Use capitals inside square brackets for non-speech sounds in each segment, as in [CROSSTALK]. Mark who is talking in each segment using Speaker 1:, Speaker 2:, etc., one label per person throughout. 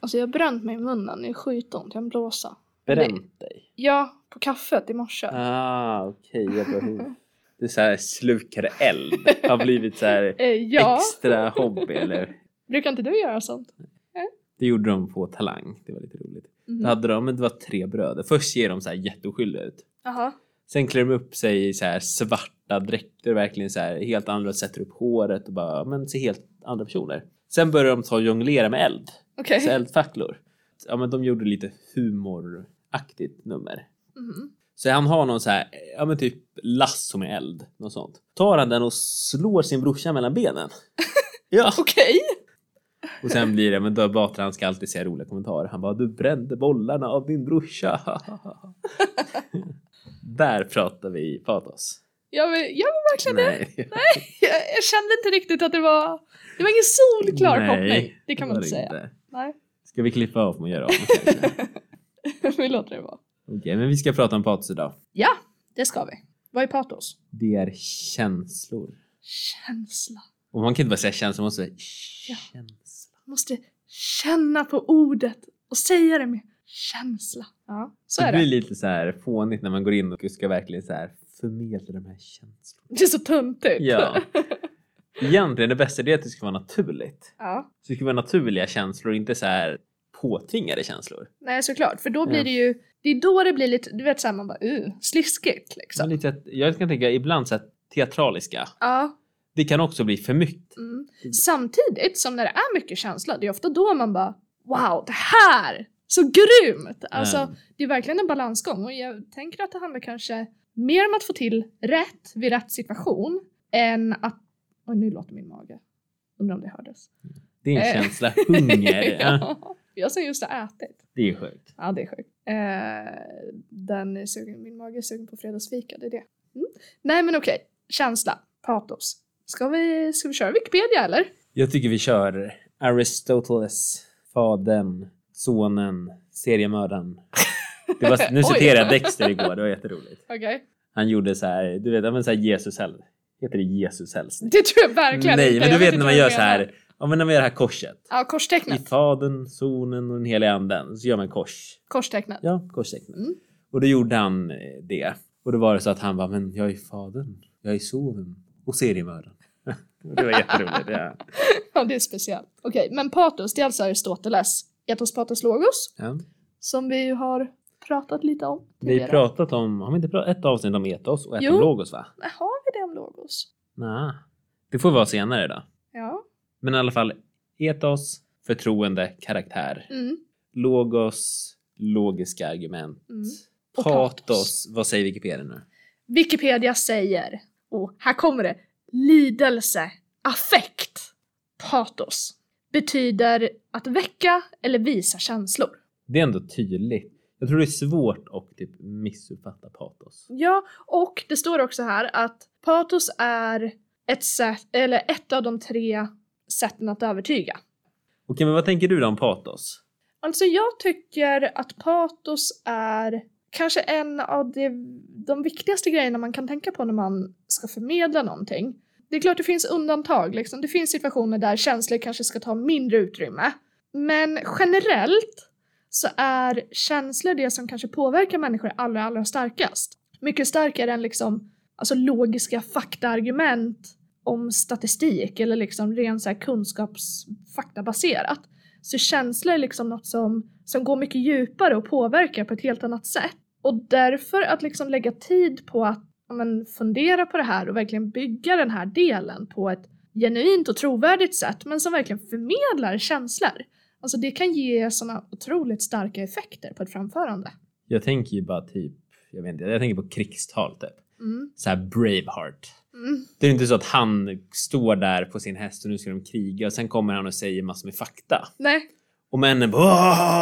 Speaker 1: Alltså jag har bränt mig i munnen, det är skitont, jag kan blåsa.
Speaker 2: Bränt dig?
Speaker 1: Ja, på kaffet i morse.
Speaker 2: Ah, okej. jag bara, [LAUGHS] hur- Du är så här slukar [LAUGHS] eld. Har blivit så här
Speaker 1: Eh, ja,
Speaker 2: extra hobby eller?
Speaker 1: brukar inte du göra sånt?
Speaker 2: Det gjorde de på Talang. Det var lite roligt. Då
Speaker 1: Mm.
Speaker 2: hade de, men det var tre bröder. Först ser de så här jätteoskyldiga ut.
Speaker 1: Jaha.
Speaker 2: Sen klär de upp sig i så här svarta dräkter, verkligen så här helt andra, sätter upp håret och bara, men ser helt andra personer. Sen börjar de ta och jonglera med eld,
Speaker 1: Okej.
Speaker 2: [LAUGHS] så eldfacklor. Ja, men de gjorde lite humoraktigt nummer.
Speaker 1: Mhm.
Speaker 2: Så han har någon så här, ja men typ lasso med eld, något sånt. Tar han den och slår sin brorsa
Speaker 1: [LAUGHS]
Speaker 2: mellan benen. Ja,
Speaker 1: Okej.
Speaker 2: och sen blir det, men då Batra han ska alltid säga roliga kommentarer. Han bara, du brände bollarna av din brorsa. [LAUGHS] Där pratar vi patos.
Speaker 1: Jag, var- jag var verkligen det.
Speaker 2: Nej.
Speaker 1: Jag, jag kände inte riktigt att det var... Det var ingen solklar
Speaker 2: Nej,
Speaker 1: koppling. Det kan man
Speaker 2: var
Speaker 1: inte
Speaker 2: det
Speaker 1: säga. Nej, [LAUGHS]
Speaker 2: Ska vi klippa av och göra om? kanske? Okej,
Speaker 1: vi låter det vara.
Speaker 2: men vi ska prata om patos idag.
Speaker 1: Ja, det ska vi. Vad är patos?
Speaker 2: Det är känslor.
Speaker 1: Känsla.
Speaker 2: Och man kan inte bara säga känslor, man måste säga
Speaker 1: Ja.
Speaker 2: känsla.
Speaker 1: Man måste känna på ordet och säga det med känsla. Ja, så är
Speaker 2: det blir
Speaker 1: det.
Speaker 2: lite så här fånigt när man går in och ska verkligen så här förmedla de här känslorna.
Speaker 1: Det är så töntigt. [LAUGHS]
Speaker 2: Ja. Egentligen det bästa det är att det ska vara naturligt.
Speaker 1: ja.
Speaker 2: Så det ska vara naturliga känslor, inte så här påtvingade känslor.
Speaker 1: Nej, såklart. För då blir
Speaker 2: Ja.
Speaker 1: det ju... Det är då det blir lite, du vet såhär man bara uh, sliskigt
Speaker 2: Men
Speaker 1: liksom.
Speaker 2: lite att, jag kan tänka ibland så här teatraliska.
Speaker 1: Ja.
Speaker 2: Det kan också bli för mycket.
Speaker 1: Mm. Samtidigt som när det är mycket känsla, det är ofta då man bara wow, det här! Så grymt! Alltså,
Speaker 2: Mm.
Speaker 1: det är verkligen en balansgång och jag tänker att det handlar kanske mer om att få till rätt vid rätt situation än att... Oj, nu låter min mage. Undrar om det hördes.
Speaker 2: Det är en
Speaker 1: Eh. [LAUGHS]
Speaker 2: känsla hunger. ja.
Speaker 1: ja. Jag som just har ätit.
Speaker 2: Det är sjukt.
Speaker 1: Ja, det är sjukt. Eh, den är sugen, min mage är sugen på fredagsfika, det är det. Mm. Nej, men okej. Känsla. Patos. Ska vi, ska vi köra Wikipedia eller?
Speaker 2: Jag tycker vi kör Aristoteles, Fadern, Sonen, Seriemördaren. Det var, nu
Speaker 1: [LAUGHS] Oj.
Speaker 2: citerade jag Dexter igår, det var jätteroligt.
Speaker 1: Okej.
Speaker 2: Han gjorde så här, du vet, ja, men så här Jesus häl- Heter det Jesus hälsning?
Speaker 1: Det tror jag verkligen
Speaker 2: Nej,
Speaker 1: inte.
Speaker 2: men
Speaker 1: Jag
Speaker 2: du vet när
Speaker 1: inte
Speaker 2: man
Speaker 1: vad
Speaker 2: gör
Speaker 1: du
Speaker 2: så
Speaker 1: menar.
Speaker 2: här, ja men när man gör det här korset.
Speaker 1: Ja,
Speaker 2: I
Speaker 1: korstecknet.
Speaker 2: Fadern, Sonen och den heliga Anden så gör man kors.
Speaker 1: Korstecknet.
Speaker 2: Ja, korstecknet.
Speaker 1: Mm.
Speaker 2: Och då gjorde han eh, det. Och då var det så att han var men jag är Fadern, jag är Sonen och seriemördaren. [LAUGHS] det var jätteroligt. Ja.
Speaker 1: Ja, det är speciellt. Okej, men patos, det är alltså Aristoteles. Etos, patos, logos.
Speaker 2: Ja.
Speaker 1: Som vi ju har pratat lite om.
Speaker 2: Vi har
Speaker 1: tidigare.
Speaker 2: pratat om, har vi inte pratat ett avsnitt om etos och ett
Speaker 1: Jo.
Speaker 2: om logos va?
Speaker 1: Nej, Äh, Har vi det om logos?
Speaker 2: Nej. Det får vara senare då.
Speaker 1: Ja.
Speaker 2: Men i alla fall etos, förtroende, karaktär.
Speaker 1: Mm.
Speaker 2: Logos, logiska argument.
Speaker 1: Mm. Och
Speaker 2: Patos.
Speaker 1: patos.
Speaker 2: vad säger Wikipedia nu?
Speaker 1: Wikipedia säger, och här kommer det, lidelse, affekt, patos. Betyder att väcka eller visa känslor.
Speaker 2: Det är ändå tydligt. Jag tror det är svårt att typ missuppfatta patos.
Speaker 1: Ja, och det står också här att patos är ett, sätt, eller ett av de tre sätten att övertyga.
Speaker 2: Okej, men vad tänker du då om patos?
Speaker 1: Alltså jag tycker att patos är kanske en av de, de viktigaste grejerna man kan tänka på när man ska förmedla någonting. Det är klart det finns undantag, liksom. det finns situationer där känslor kanske ska ta mindre utrymme. Men generellt så är känslor det som kanske påverkar människor allra, allra starkast. Mycket starkare än liksom, alltså logiska faktaargument om statistik eller liksom ren så här kunskapsfaktabaserat. Så känslor är liksom något som, som går mycket djupare och påverkar på ett helt annat sätt. Och därför att liksom lägga tid på att ja, men, fundera på det här och verkligen bygga den här delen på ett genuint och trovärdigt sätt men som verkligen förmedlar känslor. Alltså det kan ge sådana otroligt starka effekter på ett framförande.
Speaker 2: Jag tänker ju bara typ, jag vet inte, jag tänker på krigstal typ.
Speaker 1: Mm.
Speaker 2: Så här Braveheart.
Speaker 1: Mm.
Speaker 2: Det är inte så att han står där på sin häst och nu ska de kriga och sen kommer han och säger massor med fakta.
Speaker 1: Nej,
Speaker 2: Och männen bara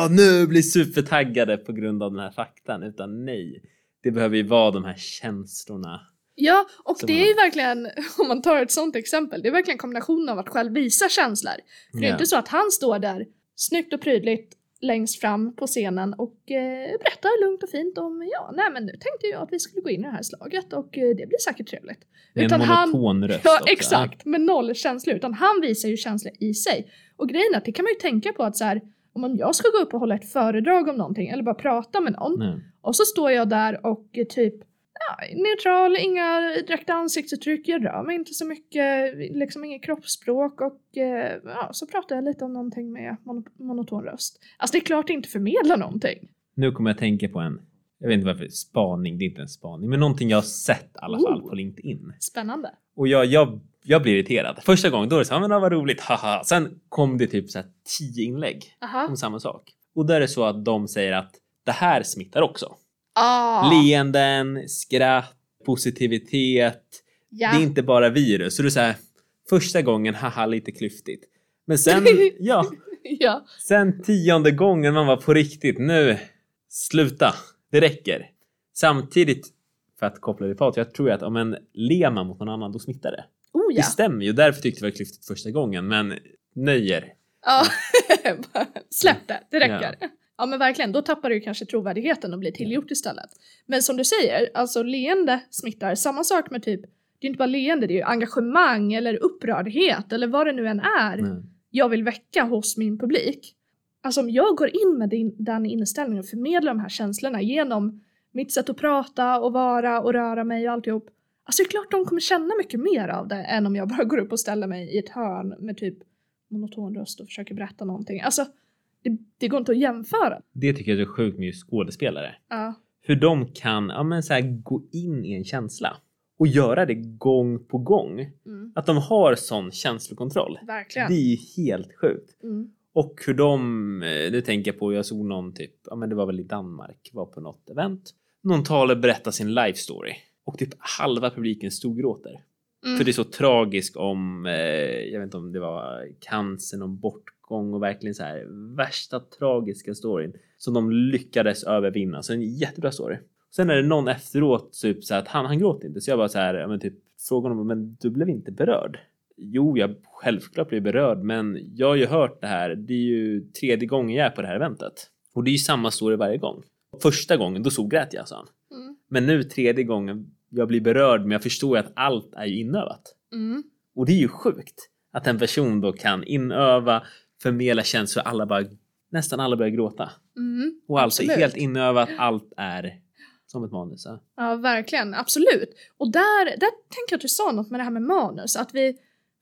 Speaker 2: "Åh, nu blir supertaggade på grund av den här faktan. Utan nej, det behöver ju vara de här känslorna.
Speaker 1: Ja, och
Speaker 2: Som
Speaker 1: det är
Speaker 2: man-
Speaker 1: ju verkligen, [LAUGHS] om man tar ett sånt exempel, det är verkligen kombinationen av att själv visa känslor. För det är
Speaker 2: Ja.
Speaker 1: inte så att han står där snyggt och prydligt längst fram på scenen och eh, berättar lugnt och fint om ja, nej men nu tänkte jag att vi skulle gå in i det här slaget och eh, det blir säkert trevligt.
Speaker 2: Det är
Speaker 1: Utan
Speaker 2: en
Speaker 1: han-
Speaker 2: monoton röst
Speaker 1: [LAUGHS] Ja,
Speaker 2: också.
Speaker 1: exakt, med noll känslor. Utan han visar ju känslor i sig. Och grejen är att det kan man ju tänka på att så här, om om jag ska gå upp och hålla ett föredrag om någonting eller bara prata med någon
Speaker 2: Nej.
Speaker 1: och så står jag där och är typ ja, neutral, inga direkta ansiktsuttryck, jag rör mig inte så mycket, liksom inget kroppsspråk och eh, ja, så pratar jag lite om någonting med mon- monoton röst. Alltså det är klart det inte förmedlar någonting.
Speaker 2: Nu kommer jag tänka på en, jag vet inte varför, spaning, det är inte en spaning, men någonting jag har sett i alla fall
Speaker 1: Ooh.
Speaker 2: på LinkedIn.
Speaker 1: Spännande.
Speaker 2: Och jag, jag, jag blir irriterad. Första gången då är det så här, men ah, vad roligt, haha. Sen kom det typ så här tio inlägg
Speaker 1: Aha.
Speaker 2: om samma sak. Och där är det så att de säger att det här smittar också.
Speaker 1: Ah,
Speaker 2: Leenden, skratt, positivitet.
Speaker 1: ja.
Speaker 2: Det är inte bara virus. Så du säger första gången, haha, lite klyftigt.
Speaker 1: [LAUGHS]
Speaker 2: Men sen, ja,
Speaker 1: [LAUGHS] ja.
Speaker 2: sen tionde gången man var på riktigt, nu, sluta, det räcker. Samtidigt, för att koppla det till Patrik, jag tror att om en ler man mot någon annan, då smittar det.
Speaker 1: Oh ja.
Speaker 2: Det stämmer ju, därför tyckte jag det var klyftigt första gången, men nöjer.
Speaker 1: Ja, [LAUGHS] bara släpp det, det
Speaker 2: Ja.
Speaker 1: räcker. Ja. men verkligen, då tappar du ju kanske trovärdigheten och blir tillgjort istället. Men som du säger, alltså leende smittar, samma sak med typ, det är inte bara leende, det är ju engagemang eller upprördhet eller vad det nu än är
Speaker 2: Nej.
Speaker 1: jag vill väcka hos min publik. Alltså om jag går in med din, den inställningen och förmedlar de här känslorna genom mitt sätt att prata och vara och röra mig och alltihop. Alltså det är klart de kommer känna mycket mer av det än om jag bara [LAUGHS] går upp och ställer mig i ett hörn med typ monoton röst och försöker berätta någonting. Alltså det, det går inte att jämföra.
Speaker 2: Det tycker jag är så sjukt med just skådespelare.
Speaker 1: Ja,
Speaker 2: Hur de kan ja, men så här, gå in i en känsla och göra det gång på gång.
Speaker 1: mm,
Speaker 2: Att de har sån känslokontroll. Det
Speaker 1: verkligen.
Speaker 2: är ju helt sjukt.
Speaker 1: Mm.
Speaker 2: Och hur de, eh, nu tänker jag på, jag såg någon typ, ja men det var väl i Danmark, var på något event. Någon talare berättade sin life story och typ halva publiken storgråter.
Speaker 1: Mm.
Speaker 2: För det är så tragiskt om, eh, jag vet inte om det var cancer, någon bortgång och verkligen så här värsta tragiska storyn som de lyckades övervinna. Så en jättebra story. Sen är det någon efteråt typ så här att han, han gråter inte så jag bara så här, ja, men typ frågar honom, men du blev inte berörd? Jo, jag självklart blev berörd, men jag har ju hört det här. Det är ju tredje gången jag är på det här eventet och det är ju samma story varje gång. Första gången, då sågrät jag, sa han.
Speaker 1: Mm.
Speaker 2: Men nu tredje gången jag blir berörd men jag förstår ju att allt är ju inövat.
Speaker 1: Mm.
Speaker 2: Och det är ju sjukt att en person då kan inöva, förmedla känslor alla bara, nästan alla börjar gråta.
Speaker 1: Mm.
Speaker 2: Och alltså
Speaker 1: Absolut.
Speaker 2: helt inövat, allt är som ett manus. ja.
Speaker 1: Ja, verkligen. Absolut. Och där, där tänker jag att du sa något med det här med manus. Att vi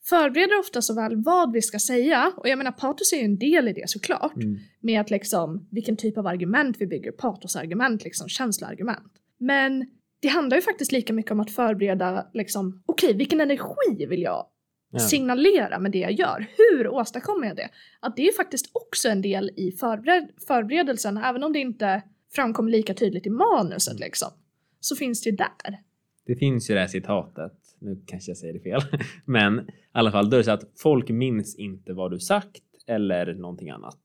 Speaker 1: förbereder ofta så väl vad vi ska säga. Och jag menar, patos är ju en del i det såklart.
Speaker 2: Mm.
Speaker 1: Med att liksom, vilken typ av argument vi bygger. Patosargument, liksom känsloargument. Men det handlar ju faktiskt lika mycket om att förbereda liksom, okej, vilken energi vill jag
Speaker 2: Ja.
Speaker 1: signalera med det jag gör. Hur åstadkommer jag det? Att det är faktiskt också en del i förbered- förberedelsen, även om det inte framkommer lika tydligt i manuset liksom. Så finns det ju
Speaker 2: [LAUGHS]
Speaker 1: där.
Speaker 2: Det finns ju det här citatet, nu kanske jag säger det fel, [LAUGHS] men i alla fall då är det så att folk minns inte vad du sagt eller
Speaker 1: [LAUGHS]
Speaker 2: någonting annat.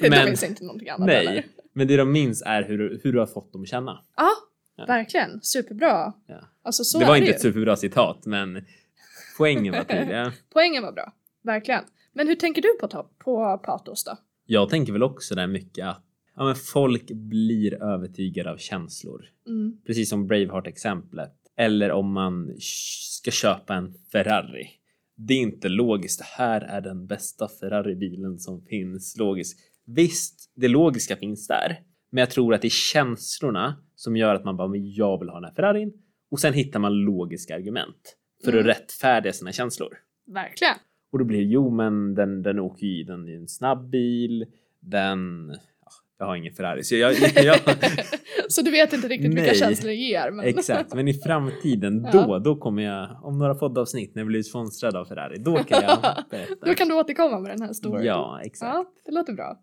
Speaker 1: det
Speaker 2: Men-
Speaker 1: finns inte någonting annat heller.
Speaker 2: Nej, men det de minns är hur, du- hur du har fått dem att känna.
Speaker 1: Ja,
Speaker 2: Ja.
Speaker 1: verkligen. Superbra.
Speaker 2: Ja.
Speaker 1: Alltså så
Speaker 2: det
Speaker 1: är
Speaker 2: var
Speaker 1: det
Speaker 2: inte
Speaker 1: ju.
Speaker 2: ett superbra citat, men poängen var tydlig. ja.
Speaker 1: Poängen var bra. Verkligen. Men hur tänker du på, ta- på patos då?
Speaker 2: Jag tänker väl också där mycket att ja, men folk blir övertygade av känslor.
Speaker 1: Mm.
Speaker 2: Precis som Braveheart-exemplet. Eller om man sh- ska köpa en Ferrari. Det är inte logiskt. Det här är den bästa Ferrari-bilen som finns logiskt. Visst, det logiska finns där. Men jag tror att det är känslorna som gör att man bara, men jag vill ha den här Ferrarin. Och sen hittar man logiska argument för att
Speaker 1: Mm.
Speaker 2: rättfärdiga sina känslor.
Speaker 1: Verkligen. [LAUGHS]
Speaker 2: Och då blir det jo men den, den åker ju i, den är en snabb bil, den... ja, Jag har ingen Ferrari så jag... jag, jag
Speaker 1: [LAUGHS] så du vet inte riktigt vilka
Speaker 2: Nej.
Speaker 1: känslor det ger. Men...
Speaker 2: exakt, men i framtiden
Speaker 1: Ja.
Speaker 2: då, då kommer jag... Om några poddavsnitt när jag blir sponsrad av Ferrari, då
Speaker 1: [LAUGHS]
Speaker 2: kan jag
Speaker 1: [LAUGHS]
Speaker 2: berätta.
Speaker 1: Då kan du återkomma med den här storyn.
Speaker 2: Ja, exakt.
Speaker 1: ja, det låter bra.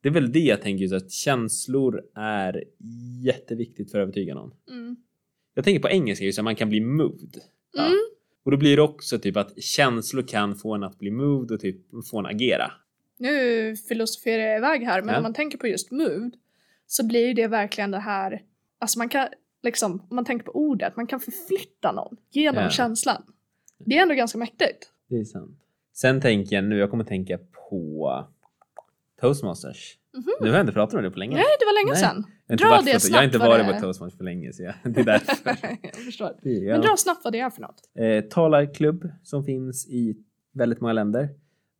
Speaker 2: Det är väl det jag tänker, just att känslor är jätteviktigt för att övertyga någon.
Speaker 1: Mm.
Speaker 2: Jag tänker på engelska, just att man kan bli moved. Ja.
Speaker 1: Mm.
Speaker 2: Och då blir det också typ att känslor kan få en att bli moved och typ få en agera.
Speaker 1: Nu filosoferar jag iväg här, men
Speaker 2: Ja.
Speaker 1: om man tänker på just moved så blir ju det verkligen det här, alltså man kan, liksom, om man tänker på ordet, man kan förflytta någon genom
Speaker 2: Ja.
Speaker 1: känslan. Det är ändå ganska mäktigt.
Speaker 2: Det är sant. Sen tänker jag nu, jag kommer tänka på toastmasters.
Speaker 1: Mhm.
Speaker 2: Nu har jag inte pratat om det på länge.
Speaker 1: Nej, det var länge
Speaker 2: Nej.
Speaker 1: sedan. [LAUGHS]
Speaker 2: jag, har
Speaker 1: dra
Speaker 2: inte varit
Speaker 1: det
Speaker 2: på, jag har inte
Speaker 1: snabbt vad
Speaker 2: varit
Speaker 1: det
Speaker 2: på
Speaker 1: är.
Speaker 2: toastmasters för länge så jag, [LAUGHS] det är därför.
Speaker 1: jag förstår.
Speaker 2: Det
Speaker 1: [LAUGHS]
Speaker 2: är-
Speaker 1: Men
Speaker 2: ja.
Speaker 1: dra snabbt vad det är för något.
Speaker 2: eh, talarklubb som finns i väldigt många länder.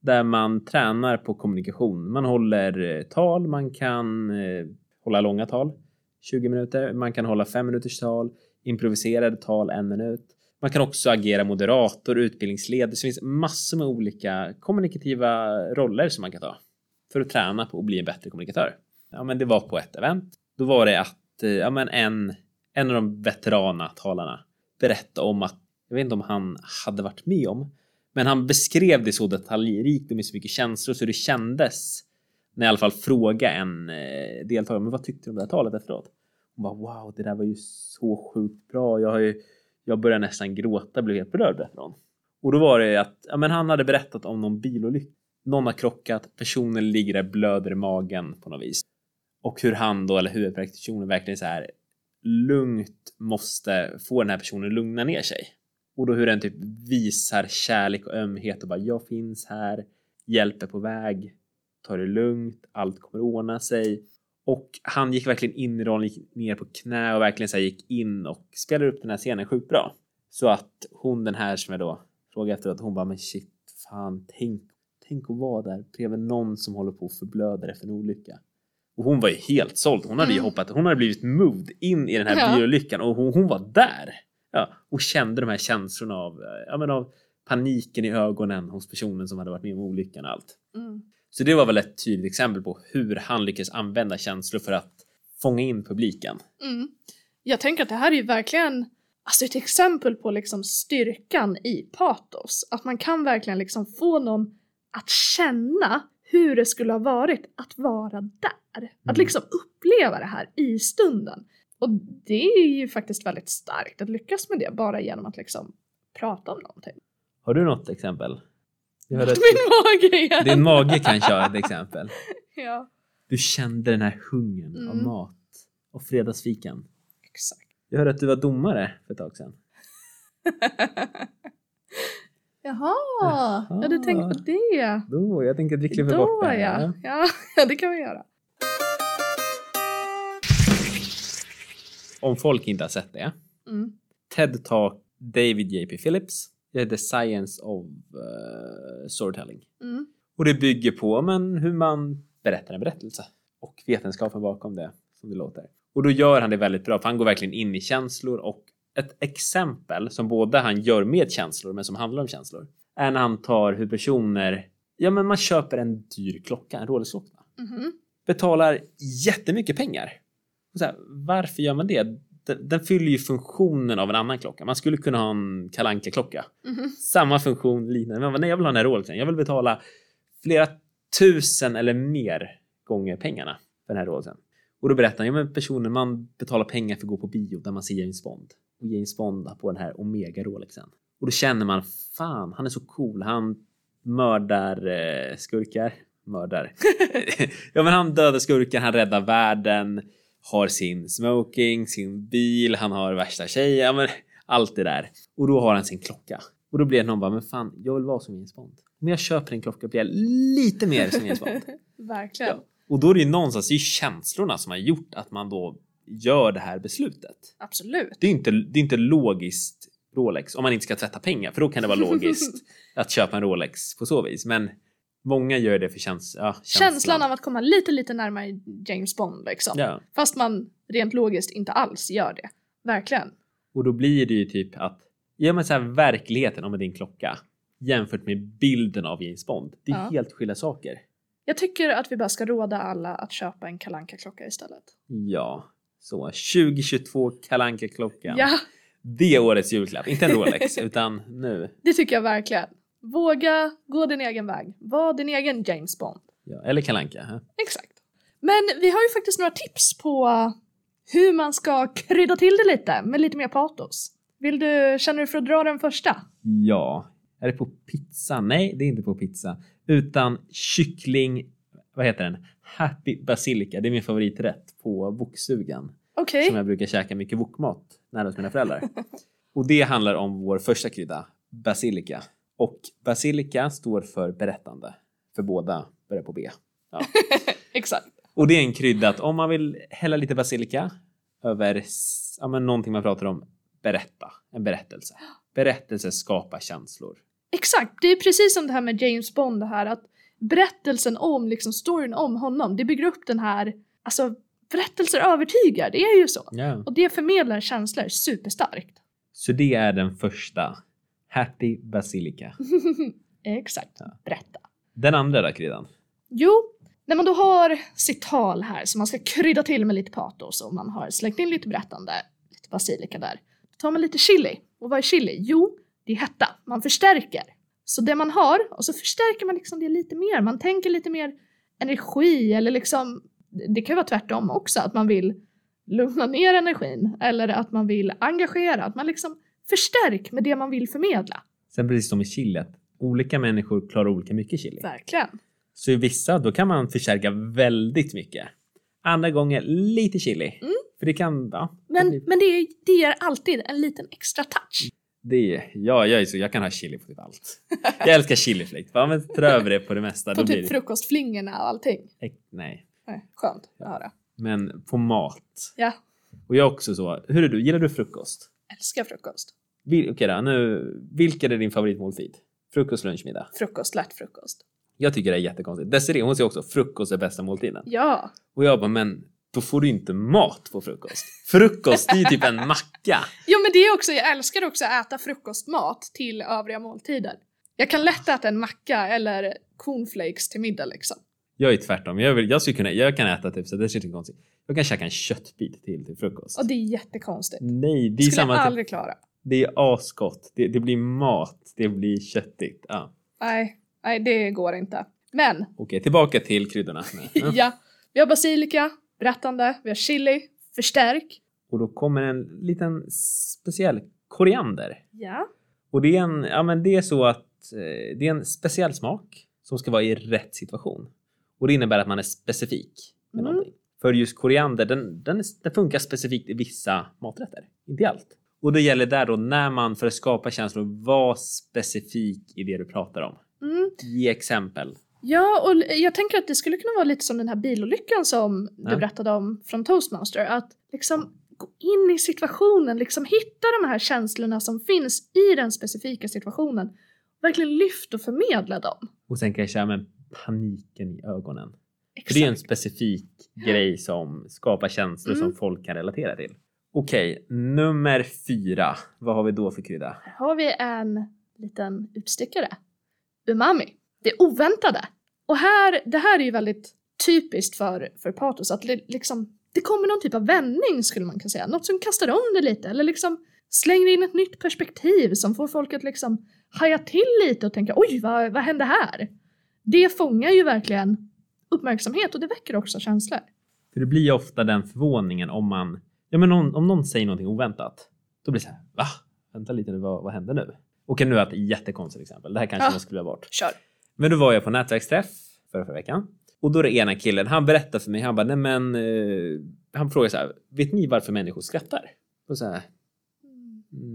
Speaker 2: där man tränar på kommunikation. Man håller eh, tal, man kan eh, hålla långa tal, 20 minuter, man kan hålla 5 minuters tal, improviserade tal, en minut. Man kan också agera moderator, utbildningsledare. Så det finns massor med olika kommunikativa roller som man kan ta för att träna på att bli en bättre kommunikatör. Ja, men det var på ett event. Då var det att eh, ja, men en, en av de veterana talarna berättade om att, jag vet inte om han hade varit med om, men han beskrev det så detaljrikt och med så mycket känslor så det kändes när jag i alla fall frågade en eh, deltagare, men vad tyckte du om det här talet efteråt? Hon bara wow, det där var ju så sjukt bra. Jag har ju, jag började nästan gråta, blev helt berörd efteråt. Och då var det att, ja men han hade berättat om någon bilolycka. Någon har krockat, personen ligger där blöder i magen på något vis. Och hur han då, eller huvudpersonen verkligen så här lugnt måste få den här personen lugna ner sig. Och då hur den typ visar kärlek och ömhet och bara jag finns här, hjälper på väg, ta det lugnt, allt kommer ordna sig. Och han gick verkligen in i rollen, gick ner på knä och verkligen så här gick in och spelade upp den här scenen sjukt bra. Så att hon den här som jag då frågade efter att hon bara men shit, fan tänk, tänk att vara där bredvid någon som håller på att förblöda efter en olycka. Och hon var ju helt såld. Hon hade ju
Speaker 1: Mm.
Speaker 2: hoppat, hon hade blivit moved in i den här
Speaker 1: Ja.
Speaker 2: bilolyckan och hon, hon var där. Ja, och kände de här känslorna av, eh, ja, men av paniken i ögonen hos personen som hade varit med om olyckan och allt.
Speaker 1: Mm.
Speaker 2: Så det var väl ett tydligt exempel på hur han lyckades använda känslor för att fånga in publiken.
Speaker 1: Mm. Jag tänker att det här är ju verkligen alltså ett exempel på liksom styrkan i patos. Att man kan verkligen liksom få någon att känna hur det skulle ha varit att vara där. Att
Speaker 2: Mm.
Speaker 1: liksom uppleva det här i stunden. Och det är ju faktiskt väldigt starkt att lyckas med det bara genom att liksom prata om någonting.
Speaker 2: Har du något exempel? Jag hörde
Speaker 1: [LAUGHS]
Speaker 2: att
Speaker 1: Min mage igen!
Speaker 2: din mage kan köra ett exempel.
Speaker 1: Ja,
Speaker 2: Du kände den här hungern av
Speaker 1: Mm.
Speaker 2: mat och fredagsfikan.
Speaker 1: exakt.
Speaker 2: Jag hörde att du var domare för ett tag sedan.
Speaker 1: Jaha, ja du tänkte på det.
Speaker 2: Då, jag tänkte att vi klipper
Speaker 1: Då
Speaker 2: bort det här.
Speaker 1: ja. ja, [LAUGHS] ja det kan vi göra.
Speaker 2: Om folk inte har sett det.
Speaker 1: Mm.
Speaker 2: TED Talk David JP Phillips. Det heter Science of eh, Storytelling.
Speaker 1: Mm.
Speaker 2: Och det bygger på men, hur man berättar en berättelse och vetenskapen bakom det som det låter. Och då gör han det väldigt bra för han går verkligen in i känslor och ett exempel som både han gör med känslor men som handlar om känslor är när han tar hur personer, ja men man köper en dyr klocka, en Rolex-klocka
Speaker 1: Mhm.
Speaker 2: betalar jättemycket pengar. Och så här, varför gör man det? Den, den fyller ju funktionen av en annan klocka. Man skulle kunna ha en kalanka klocka
Speaker 1: Mhm.
Speaker 2: Samma funktion, liknande. Men man bara, nej, jag vill ha den här Rolexen. Jag vill betala flera tusen eller mer gånger pengarna för den här Rolexen. Och då berättar han, ja men personen man betalar pengar för att gå på bio där man ser James Bond. Och James Bond har på den här Omega Rolexen. Och då känner man, fan han är så cool. Han mördar eh, skurkar. Mördar. ja men han dödar skurkar, han räddar världen. Har sin smoking, sin bil, han har värsta tjejen. Ja, men allt det där. Och då har han sin klocka. Och då blir det någon bara, men fan jag vill vara som James Bond. Om jag köper en klocka blir jag lite mer som
Speaker 1: [LAUGHS]
Speaker 2: James Bond.
Speaker 1: Verkligen.
Speaker 2: Och då är det ju någonstans det är ju känslorna som har gjort att man då gör det här beslutet.
Speaker 1: Absolut.
Speaker 2: Det är inte, det är inte logiskt Rolex om man inte ska tvätta pengar, för då kan det vara logiskt
Speaker 1: [LAUGHS]
Speaker 2: att köpa en Rolex på så vis. Men många gör det för käns ja, känslan.
Speaker 1: Känslan av att komma lite, lite närmare James Bond liksom.
Speaker 2: Ja.
Speaker 1: Fast man rent logiskt inte alls gör det. Verkligen.
Speaker 2: Och då blir det ju typ att ja, men så här, verkligheten om din klocka jämfört med bilden av James Bond. Det är
Speaker 1: Ja.
Speaker 2: helt skilda saker.
Speaker 1: Jag tycker att vi bara ska råda alla att köpa en kalanka klocka istället.
Speaker 2: Ja, så 2022 kalanka klockan
Speaker 1: Ja,
Speaker 2: Det är årets julklapp, inte en Rolex [LAUGHS] utan nu.
Speaker 1: det tycker jag verkligen. Våga gå din egen väg. Var din egen James Bond.
Speaker 2: Ja, eller kalanka.
Speaker 1: Exakt. Men vi har ju faktiskt några tips på hur man ska krydda till det lite med lite mer patos. Vill du, känner du för att dra den första?
Speaker 2: Ja. Är det på pizza? Nej, det är inte på pizza. Utan kyckling... Vad heter den? Happy basilika. Det är min favoriträtt på boksugan.
Speaker 1: Okej.
Speaker 2: Som jag brukar käka mycket wokmat nära hos mina föräldrar. och det handlar om vår första krydda, basilika. Och basilika står för berättande. För båda börjar på B.
Speaker 1: Exakt.
Speaker 2: Och det är en krydda att om man vill hälla lite basilika över s- ja, men någonting man pratar om, berätta. En berättelse. Berättelse skapar känslor.
Speaker 1: Exakt, det är precis som det här med James Bond det här att berättelsen om, liksom storyn om honom, det bygger upp den här, alltså berättelser övertygar, det är ju så.
Speaker 2: Ja.
Speaker 1: Och det förmedlar känslor superstarkt. [LAUGHS]
Speaker 2: Så det är den första. Happy Basilica.
Speaker 1: Exakt,
Speaker 2: Ja.
Speaker 1: berätta.
Speaker 2: Den andra då, kryddan?
Speaker 1: Jo, när man då har sitt tal här som man ska krydda till med lite patos och man har slängt in lite berättande, lite basilika där, då tar man lite chili. Och vad är chili? Jo, det är hetta. Man förstärker. Så det man har, och så förstärker man liksom det lite mer. Man tänker lite mer energi eller liksom, det kan ju vara tvärtom också, att man vill lugna ner energin eller att man vill engagera, att man liksom förstärk med det man vill förmedla.
Speaker 2: Sen precis som i chili, att olika människor klarar olika mycket chili.
Speaker 1: Verkligen.
Speaker 2: Så i vissa, då kan man förstärka väldigt mycket. Andra gånger lite chili.
Speaker 1: Mm.
Speaker 2: För det kan, ja.
Speaker 1: Men, men det, det ger alltid en liten extra touch.
Speaker 2: Det är, ja, jag är så, jag kan ha chili på typ allt. Jag älskar chiliflakes. Bara men trä över det på det mesta.
Speaker 1: På
Speaker 2: då blir
Speaker 1: typ
Speaker 2: det,
Speaker 1: frukostflingorna och allting.
Speaker 2: äck, nej.
Speaker 1: Nej, Skönt att höra.
Speaker 2: Men på mat.
Speaker 1: Ja,
Speaker 2: Och jag är också så, hur är du, gillar du frukost?
Speaker 1: älskar frukost.
Speaker 2: Vil, okej då, nu, vilken är din favoritmåltid? Frukost, lunch, middag?
Speaker 1: Frukost, lätt frukost.
Speaker 2: Jag tycker det är jättekonstigt. Desirée hon säger också frukost är bästa måltiden.
Speaker 1: Ja,
Speaker 2: Och jag bara, men då får du inte mat på frukost. Frukost, det är ju typ en macka.
Speaker 1: jo men det är också, jag älskar också att äta frukostmat till övriga måltider. Jag kan lätt äta en macka eller cornflakes till middag liksom.
Speaker 2: Jag är tvärtom. Jag, vill, jag, skulle kunna, jag kan äta typ så det känns inte konstigt. Jag kan käka en köttbit till till frukost.
Speaker 1: Och det är jättekonstigt.
Speaker 2: Nej, det
Speaker 1: Det
Speaker 2: är
Speaker 1: skulle
Speaker 2: samma.
Speaker 1: jag
Speaker 2: typ,
Speaker 1: aldrig klara.
Speaker 2: det är asgott. Det, det blir mat. Det blir köttigt. Ja.
Speaker 1: Nej, nej det går inte. Men,
Speaker 2: Okej, tillbaka
Speaker 1: [LAUGHS]
Speaker 2: till kryddorna. Nej. Ja.
Speaker 1: ja. Vi har basilika, berättande, vi har chili, förstärk.
Speaker 2: Och då kommer en liten speciell koriander.
Speaker 1: Ja.
Speaker 2: Och det är, en, ja, men det är så att eh, det är en speciell smak som ska vara i rätt situation. Och det innebär att man är specifik med
Speaker 1: Mm.
Speaker 2: någonting. För just koriander, den, den, är- den funkar specifikt i vissa maträtter. Inte i allt. Och det gäller där då när man för att skapa känslor, var specifik i det du pratar om.
Speaker 1: Mm.
Speaker 2: Ge exempel.
Speaker 1: Ja, och l- jag tänker att det skulle kunna vara lite som den här bilolyckan som du
Speaker 2: Ja.
Speaker 1: berättade om från Toastmaster. Att liksom gå in i situationen, liksom hitta de här känslorna som finns i den specifika situationen. Verkligen lyft och förmedla dem.
Speaker 2: Och sen kanske ja, men paniken i ögonen. För
Speaker 1: Exakt.
Speaker 2: det är en specifik grej som skapar känslor
Speaker 1: Mm.
Speaker 2: som folk kan relatera till. Okej, nummer fyra. Vad har vi då för krydda?
Speaker 1: Här har vi en liten utstickare. Umami. Det oväntade. Och här, det här är ju väldigt typiskt för, för patos. Att li, liksom, det kommer någon typ av vändning skulle man kunna säga. Något som kastar om det lite. Eller liksom slänger in ett nytt perspektiv som får folk att liksom haja till lite och tänka oj vad, vad hände här? Det fångar ju verkligen uppmärksamhet och det väcker också känslor.
Speaker 2: För det blir ju ofta den förvåningen om man, ja men om, om någon säger någonting oväntat, då blir det så här, va? Vänta lite nu, vad, vad händer nu? Okej, nu är det ett jättekonstigt exempel. Det här kanske
Speaker 1: Ja.
Speaker 2: man skulle ha bort.
Speaker 1: Kör!
Speaker 2: Men då var jag på nätverksträff förra, förra veckan och då är det ena killen, han berättar för mig, han bara, nej men, eh, han frågar så här, vet ni varför människor skrattar? Och så här,
Speaker 1: Mm,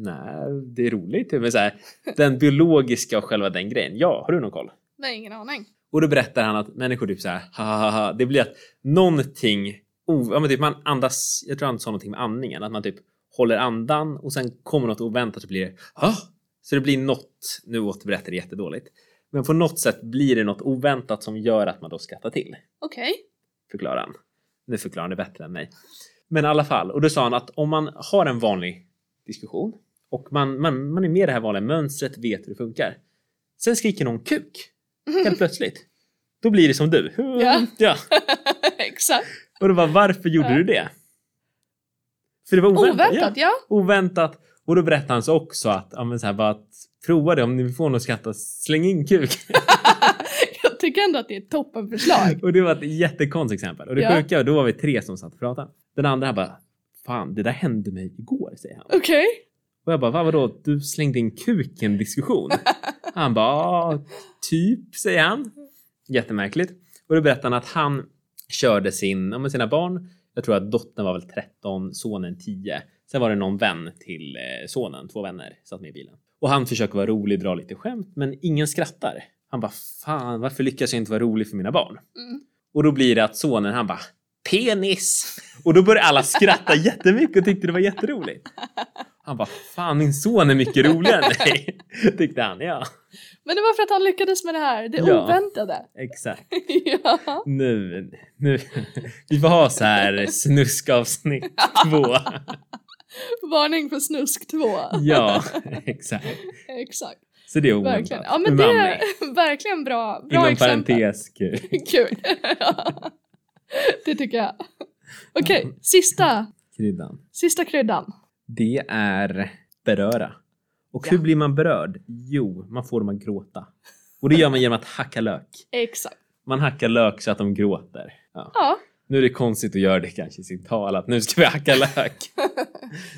Speaker 2: nej, det är roligt, men så här, den biologiska och själva den grejen. Ja, har du någon koll?
Speaker 1: Nej, ingen aning.
Speaker 2: Och då berättar han att människor typ så här, ha, ha, ha, ha. det blir att någonting, o- ja, men typ man andas, jag tror han sa någonting med andningen, att man typ håller andan och sen kommer något oväntat så blir det, ha! Så det blir något, nu återberättar jag det jättedåligt, men på något sätt blir det något oväntat som gör att man då skrattar till,
Speaker 1: Okej.
Speaker 2: förklarar han. Nu förklarar han det bättre än mig. Men i alla fall, och då sa han att om man har en vanlig diskussion och man, man, man är med i det här vanliga mönstret, vet hur det funkar. Sen skriker någon kuk helt plötsligt. Då blir det som du. [LAUGHS]
Speaker 1: Ja. [LAUGHS] Exakt.
Speaker 2: Och då bara, varför gjorde
Speaker 1: Ja.
Speaker 2: du det? För det var oväntat.
Speaker 1: Oväntat, ja.
Speaker 2: Ja, oväntat. Och då berättade han så också att, ja, men så här, bara att prova det om ni får någon att skratta, släng in kuk.
Speaker 1: Jag tycker ändå att det är ett toppenförslag.
Speaker 2: och det var ett jättekonstigt exempel. Och det
Speaker 1: Ja.
Speaker 2: sjuka, då var vi tre som satt och pratade. Den andra han bara, fan det där hände mig igår, säger han.
Speaker 1: Okej.
Speaker 2: Och jag bara, Va, vadå, du slängde in kuk i en diskussion? Han bara, "Ja, typ, säger han. Jättemärkligt. Och då berättar han att han körde sin, ja, men sina barn, jag tror att dottern var väl 13, sonen 10. Sen var det någon vän till eh, sonen, två vänner, satt med i bilen. Och han försöker vara rolig, dra lite skämt, men ingen skrattar. Han bara, fan varför lyckas jag inte vara rolig för mina barn?
Speaker 1: Mm.
Speaker 2: Och då blir det att sonen, han bara, penis! Och då börjar alla skratta jättemycket och tyckte det var jätteroligt. Han Han bara, fan min son är mycket roligare än dig. [LAUGHS] Tyckte han, ja.
Speaker 1: Men det var för att han lyckades med det här, det
Speaker 2: Ja.
Speaker 1: oväntade.
Speaker 2: Exakt.
Speaker 1: [LAUGHS] ja.
Speaker 2: Nu, nu. Vi får ha så här snuskavsnitt två.
Speaker 1: [LAUGHS] Varning för snusk 2.
Speaker 2: Ja, exakt.
Speaker 1: [LAUGHS] Exakt.
Speaker 2: Så det är oväntat.
Speaker 1: Verkligen. Ja men det är verkligen bra, bra
Speaker 2: Inom
Speaker 1: exempel.
Speaker 2: parentes kul.
Speaker 1: [LAUGHS] Kul. det tycker jag. Okej, sista,
Speaker 2: Kryddan.
Speaker 1: sista kryddan.
Speaker 2: Det är beröra. Och
Speaker 1: Ja.
Speaker 2: hur blir man berörd? Jo, man får dem att gråta. Och det gör man genom att hacka lök.
Speaker 1: Exakt.
Speaker 2: Man hackar lök så att de gråter. Ja.
Speaker 1: Ja,
Speaker 2: Nu är det konstigt att göra det kanske i sitt tal att nu ska vi hacka lök.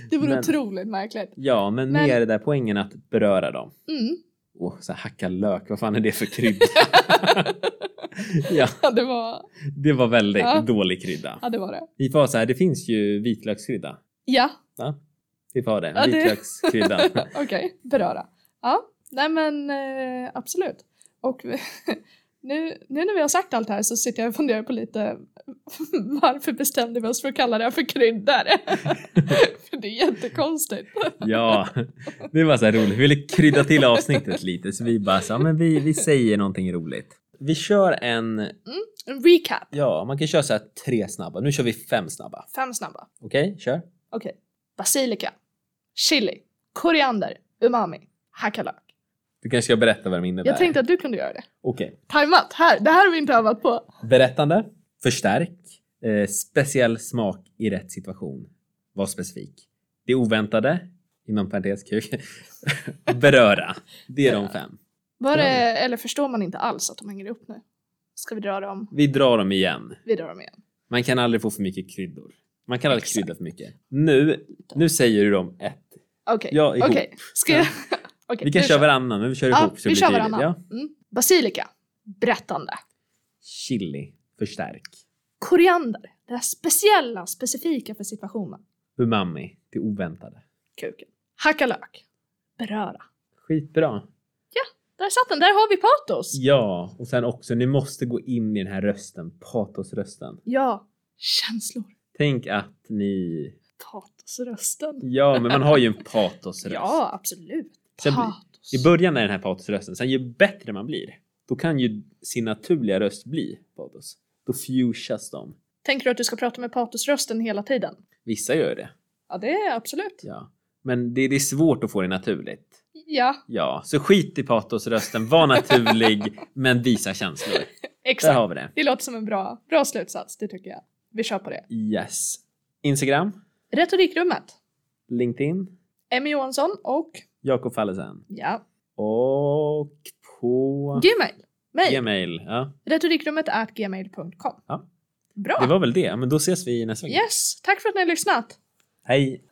Speaker 1: det vore
Speaker 2: Men-
Speaker 1: otroligt märkligt.
Speaker 2: [LAUGHS] Ja, men,
Speaker 1: Men-
Speaker 2: mer det där poängen att beröra dem.
Speaker 1: Mm.
Speaker 2: Åh, så här, hacka lök, vad fan är det
Speaker 1: [LAUGHS]
Speaker 2: för krydda? [LAUGHS] ja,
Speaker 1: Ja, det var,
Speaker 2: det var väldigt
Speaker 1: Ja.
Speaker 2: dålig krydda.
Speaker 1: ja, det var det.
Speaker 2: Vi får ha så här, det finns ju vitlökskrydda.
Speaker 1: Ja,
Speaker 2: Vi får ha det,
Speaker 1: Ja, det-
Speaker 2: vitlökskrydda. [LAUGHS]
Speaker 1: okej. Beröra. Ja, nej men eh, absolut. Och [LAUGHS] nu, nu när vi har sagt allt det här så sitter jag och funderar på lite [LAUGHS] varför bestämde vi oss för att kalla det här för kryddor? [LAUGHS] för det är jättekonstigt.
Speaker 2: ja, det var så här roligt. Vi ville krydda till avsnittet lite så vi bara så här, men vi, vi säger någonting roligt. Vi kör en,
Speaker 1: En recap.
Speaker 2: ja man kan köra så här tre snabba. Nu kör vi fem snabba.
Speaker 1: Fem snabba.
Speaker 2: Okej, kör.
Speaker 1: Okej. Basilika. Chili. Koriander. Umami. Hackalök.
Speaker 2: Du kanske ska berätta vad de innebär.
Speaker 1: Jag tänkte att du kunde göra det.
Speaker 2: Okej.
Speaker 1: Tajmat. Här. Det här har vi inte övat på.
Speaker 2: Berättande, förstärk, eh, speciell smak i rätt situation. Var specifik. Det oväntade, inom parentes kuk, [LAUGHS] beröra. Det är de fem.
Speaker 1: Var det,
Speaker 2: Ja.
Speaker 1: eller förstår man inte alls att de hänger upp nu? Ska vi dra dem?
Speaker 2: Vi drar dem igen.
Speaker 1: Vi drar dem igen.
Speaker 2: Man kan aldrig få för mycket kryddor. Man kan aldrig
Speaker 1: Exakt.
Speaker 2: krydda för mycket. Nu, nu säger du dem ett.
Speaker 1: Okej.
Speaker 2: Ja, ihop.
Speaker 1: Okej. Ska jag... [LAUGHS] Okej,
Speaker 2: Vi kan
Speaker 1: du
Speaker 2: köra
Speaker 1: kör.
Speaker 2: varannan, men vi kör
Speaker 1: Ja,
Speaker 2: ihop så
Speaker 1: vi
Speaker 2: det blir
Speaker 1: kör
Speaker 2: tydligt.
Speaker 1: varannan.
Speaker 2: Ja.
Speaker 1: Mm. Basilika. Berättande.
Speaker 2: Chili, förstärk.
Speaker 1: Koriander. Det här speciella, specifika för situationen.
Speaker 2: Umami, det oväntade.
Speaker 1: Kuken. Hacka lök. Beröra.
Speaker 2: Skitbra.
Speaker 1: Där satt den. Där har vi patos.
Speaker 2: Ja, och sen också, ni måste gå in i den här rösten, patosrösten.
Speaker 1: Ja. Känslor.
Speaker 2: Tänk att ni...
Speaker 1: Patosrösten.
Speaker 2: Ja, men man har ju en
Speaker 1: [LAUGHS]
Speaker 2: patosröst.
Speaker 1: Ja, absolut.
Speaker 2: Sen blir-
Speaker 1: Patos.
Speaker 2: I början är den här patosrösten, sen ju bättre man blir, då kan ju sin naturliga röst bli patos. Då fusas de.
Speaker 1: Tänker du att du ska prata med patosrösten hela tiden?
Speaker 2: Vissa gör det,
Speaker 1: Ja, det är absolut.
Speaker 2: ja. Men det, det är svårt att få det naturligt.
Speaker 1: Ja,
Speaker 2: Ja, så skit i patosrösten,
Speaker 1: [LAUGHS]
Speaker 2: var naturlig, men visa känslor. Där
Speaker 1: exakt.
Speaker 2: har vi det.
Speaker 1: Det låter som en bra, bra slutsats, det tycker jag. Vi kör på det.
Speaker 2: Yes. Instagram,
Speaker 1: Retorikrummet.
Speaker 2: LinkedIn,
Speaker 1: Emmy Johansson och
Speaker 2: Jakob Fallesen
Speaker 1: ja,
Speaker 2: och på
Speaker 1: Gmail. Mail.
Speaker 2: Gmail. Ja.
Speaker 1: Retorikrummet är gmail.com.
Speaker 2: Ja.
Speaker 1: Bra.
Speaker 2: Det var väl det, men då ses vi nästa vecka.
Speaker 1: Yes, tack för att ni har lyssnat.
Speaker 2: Hej!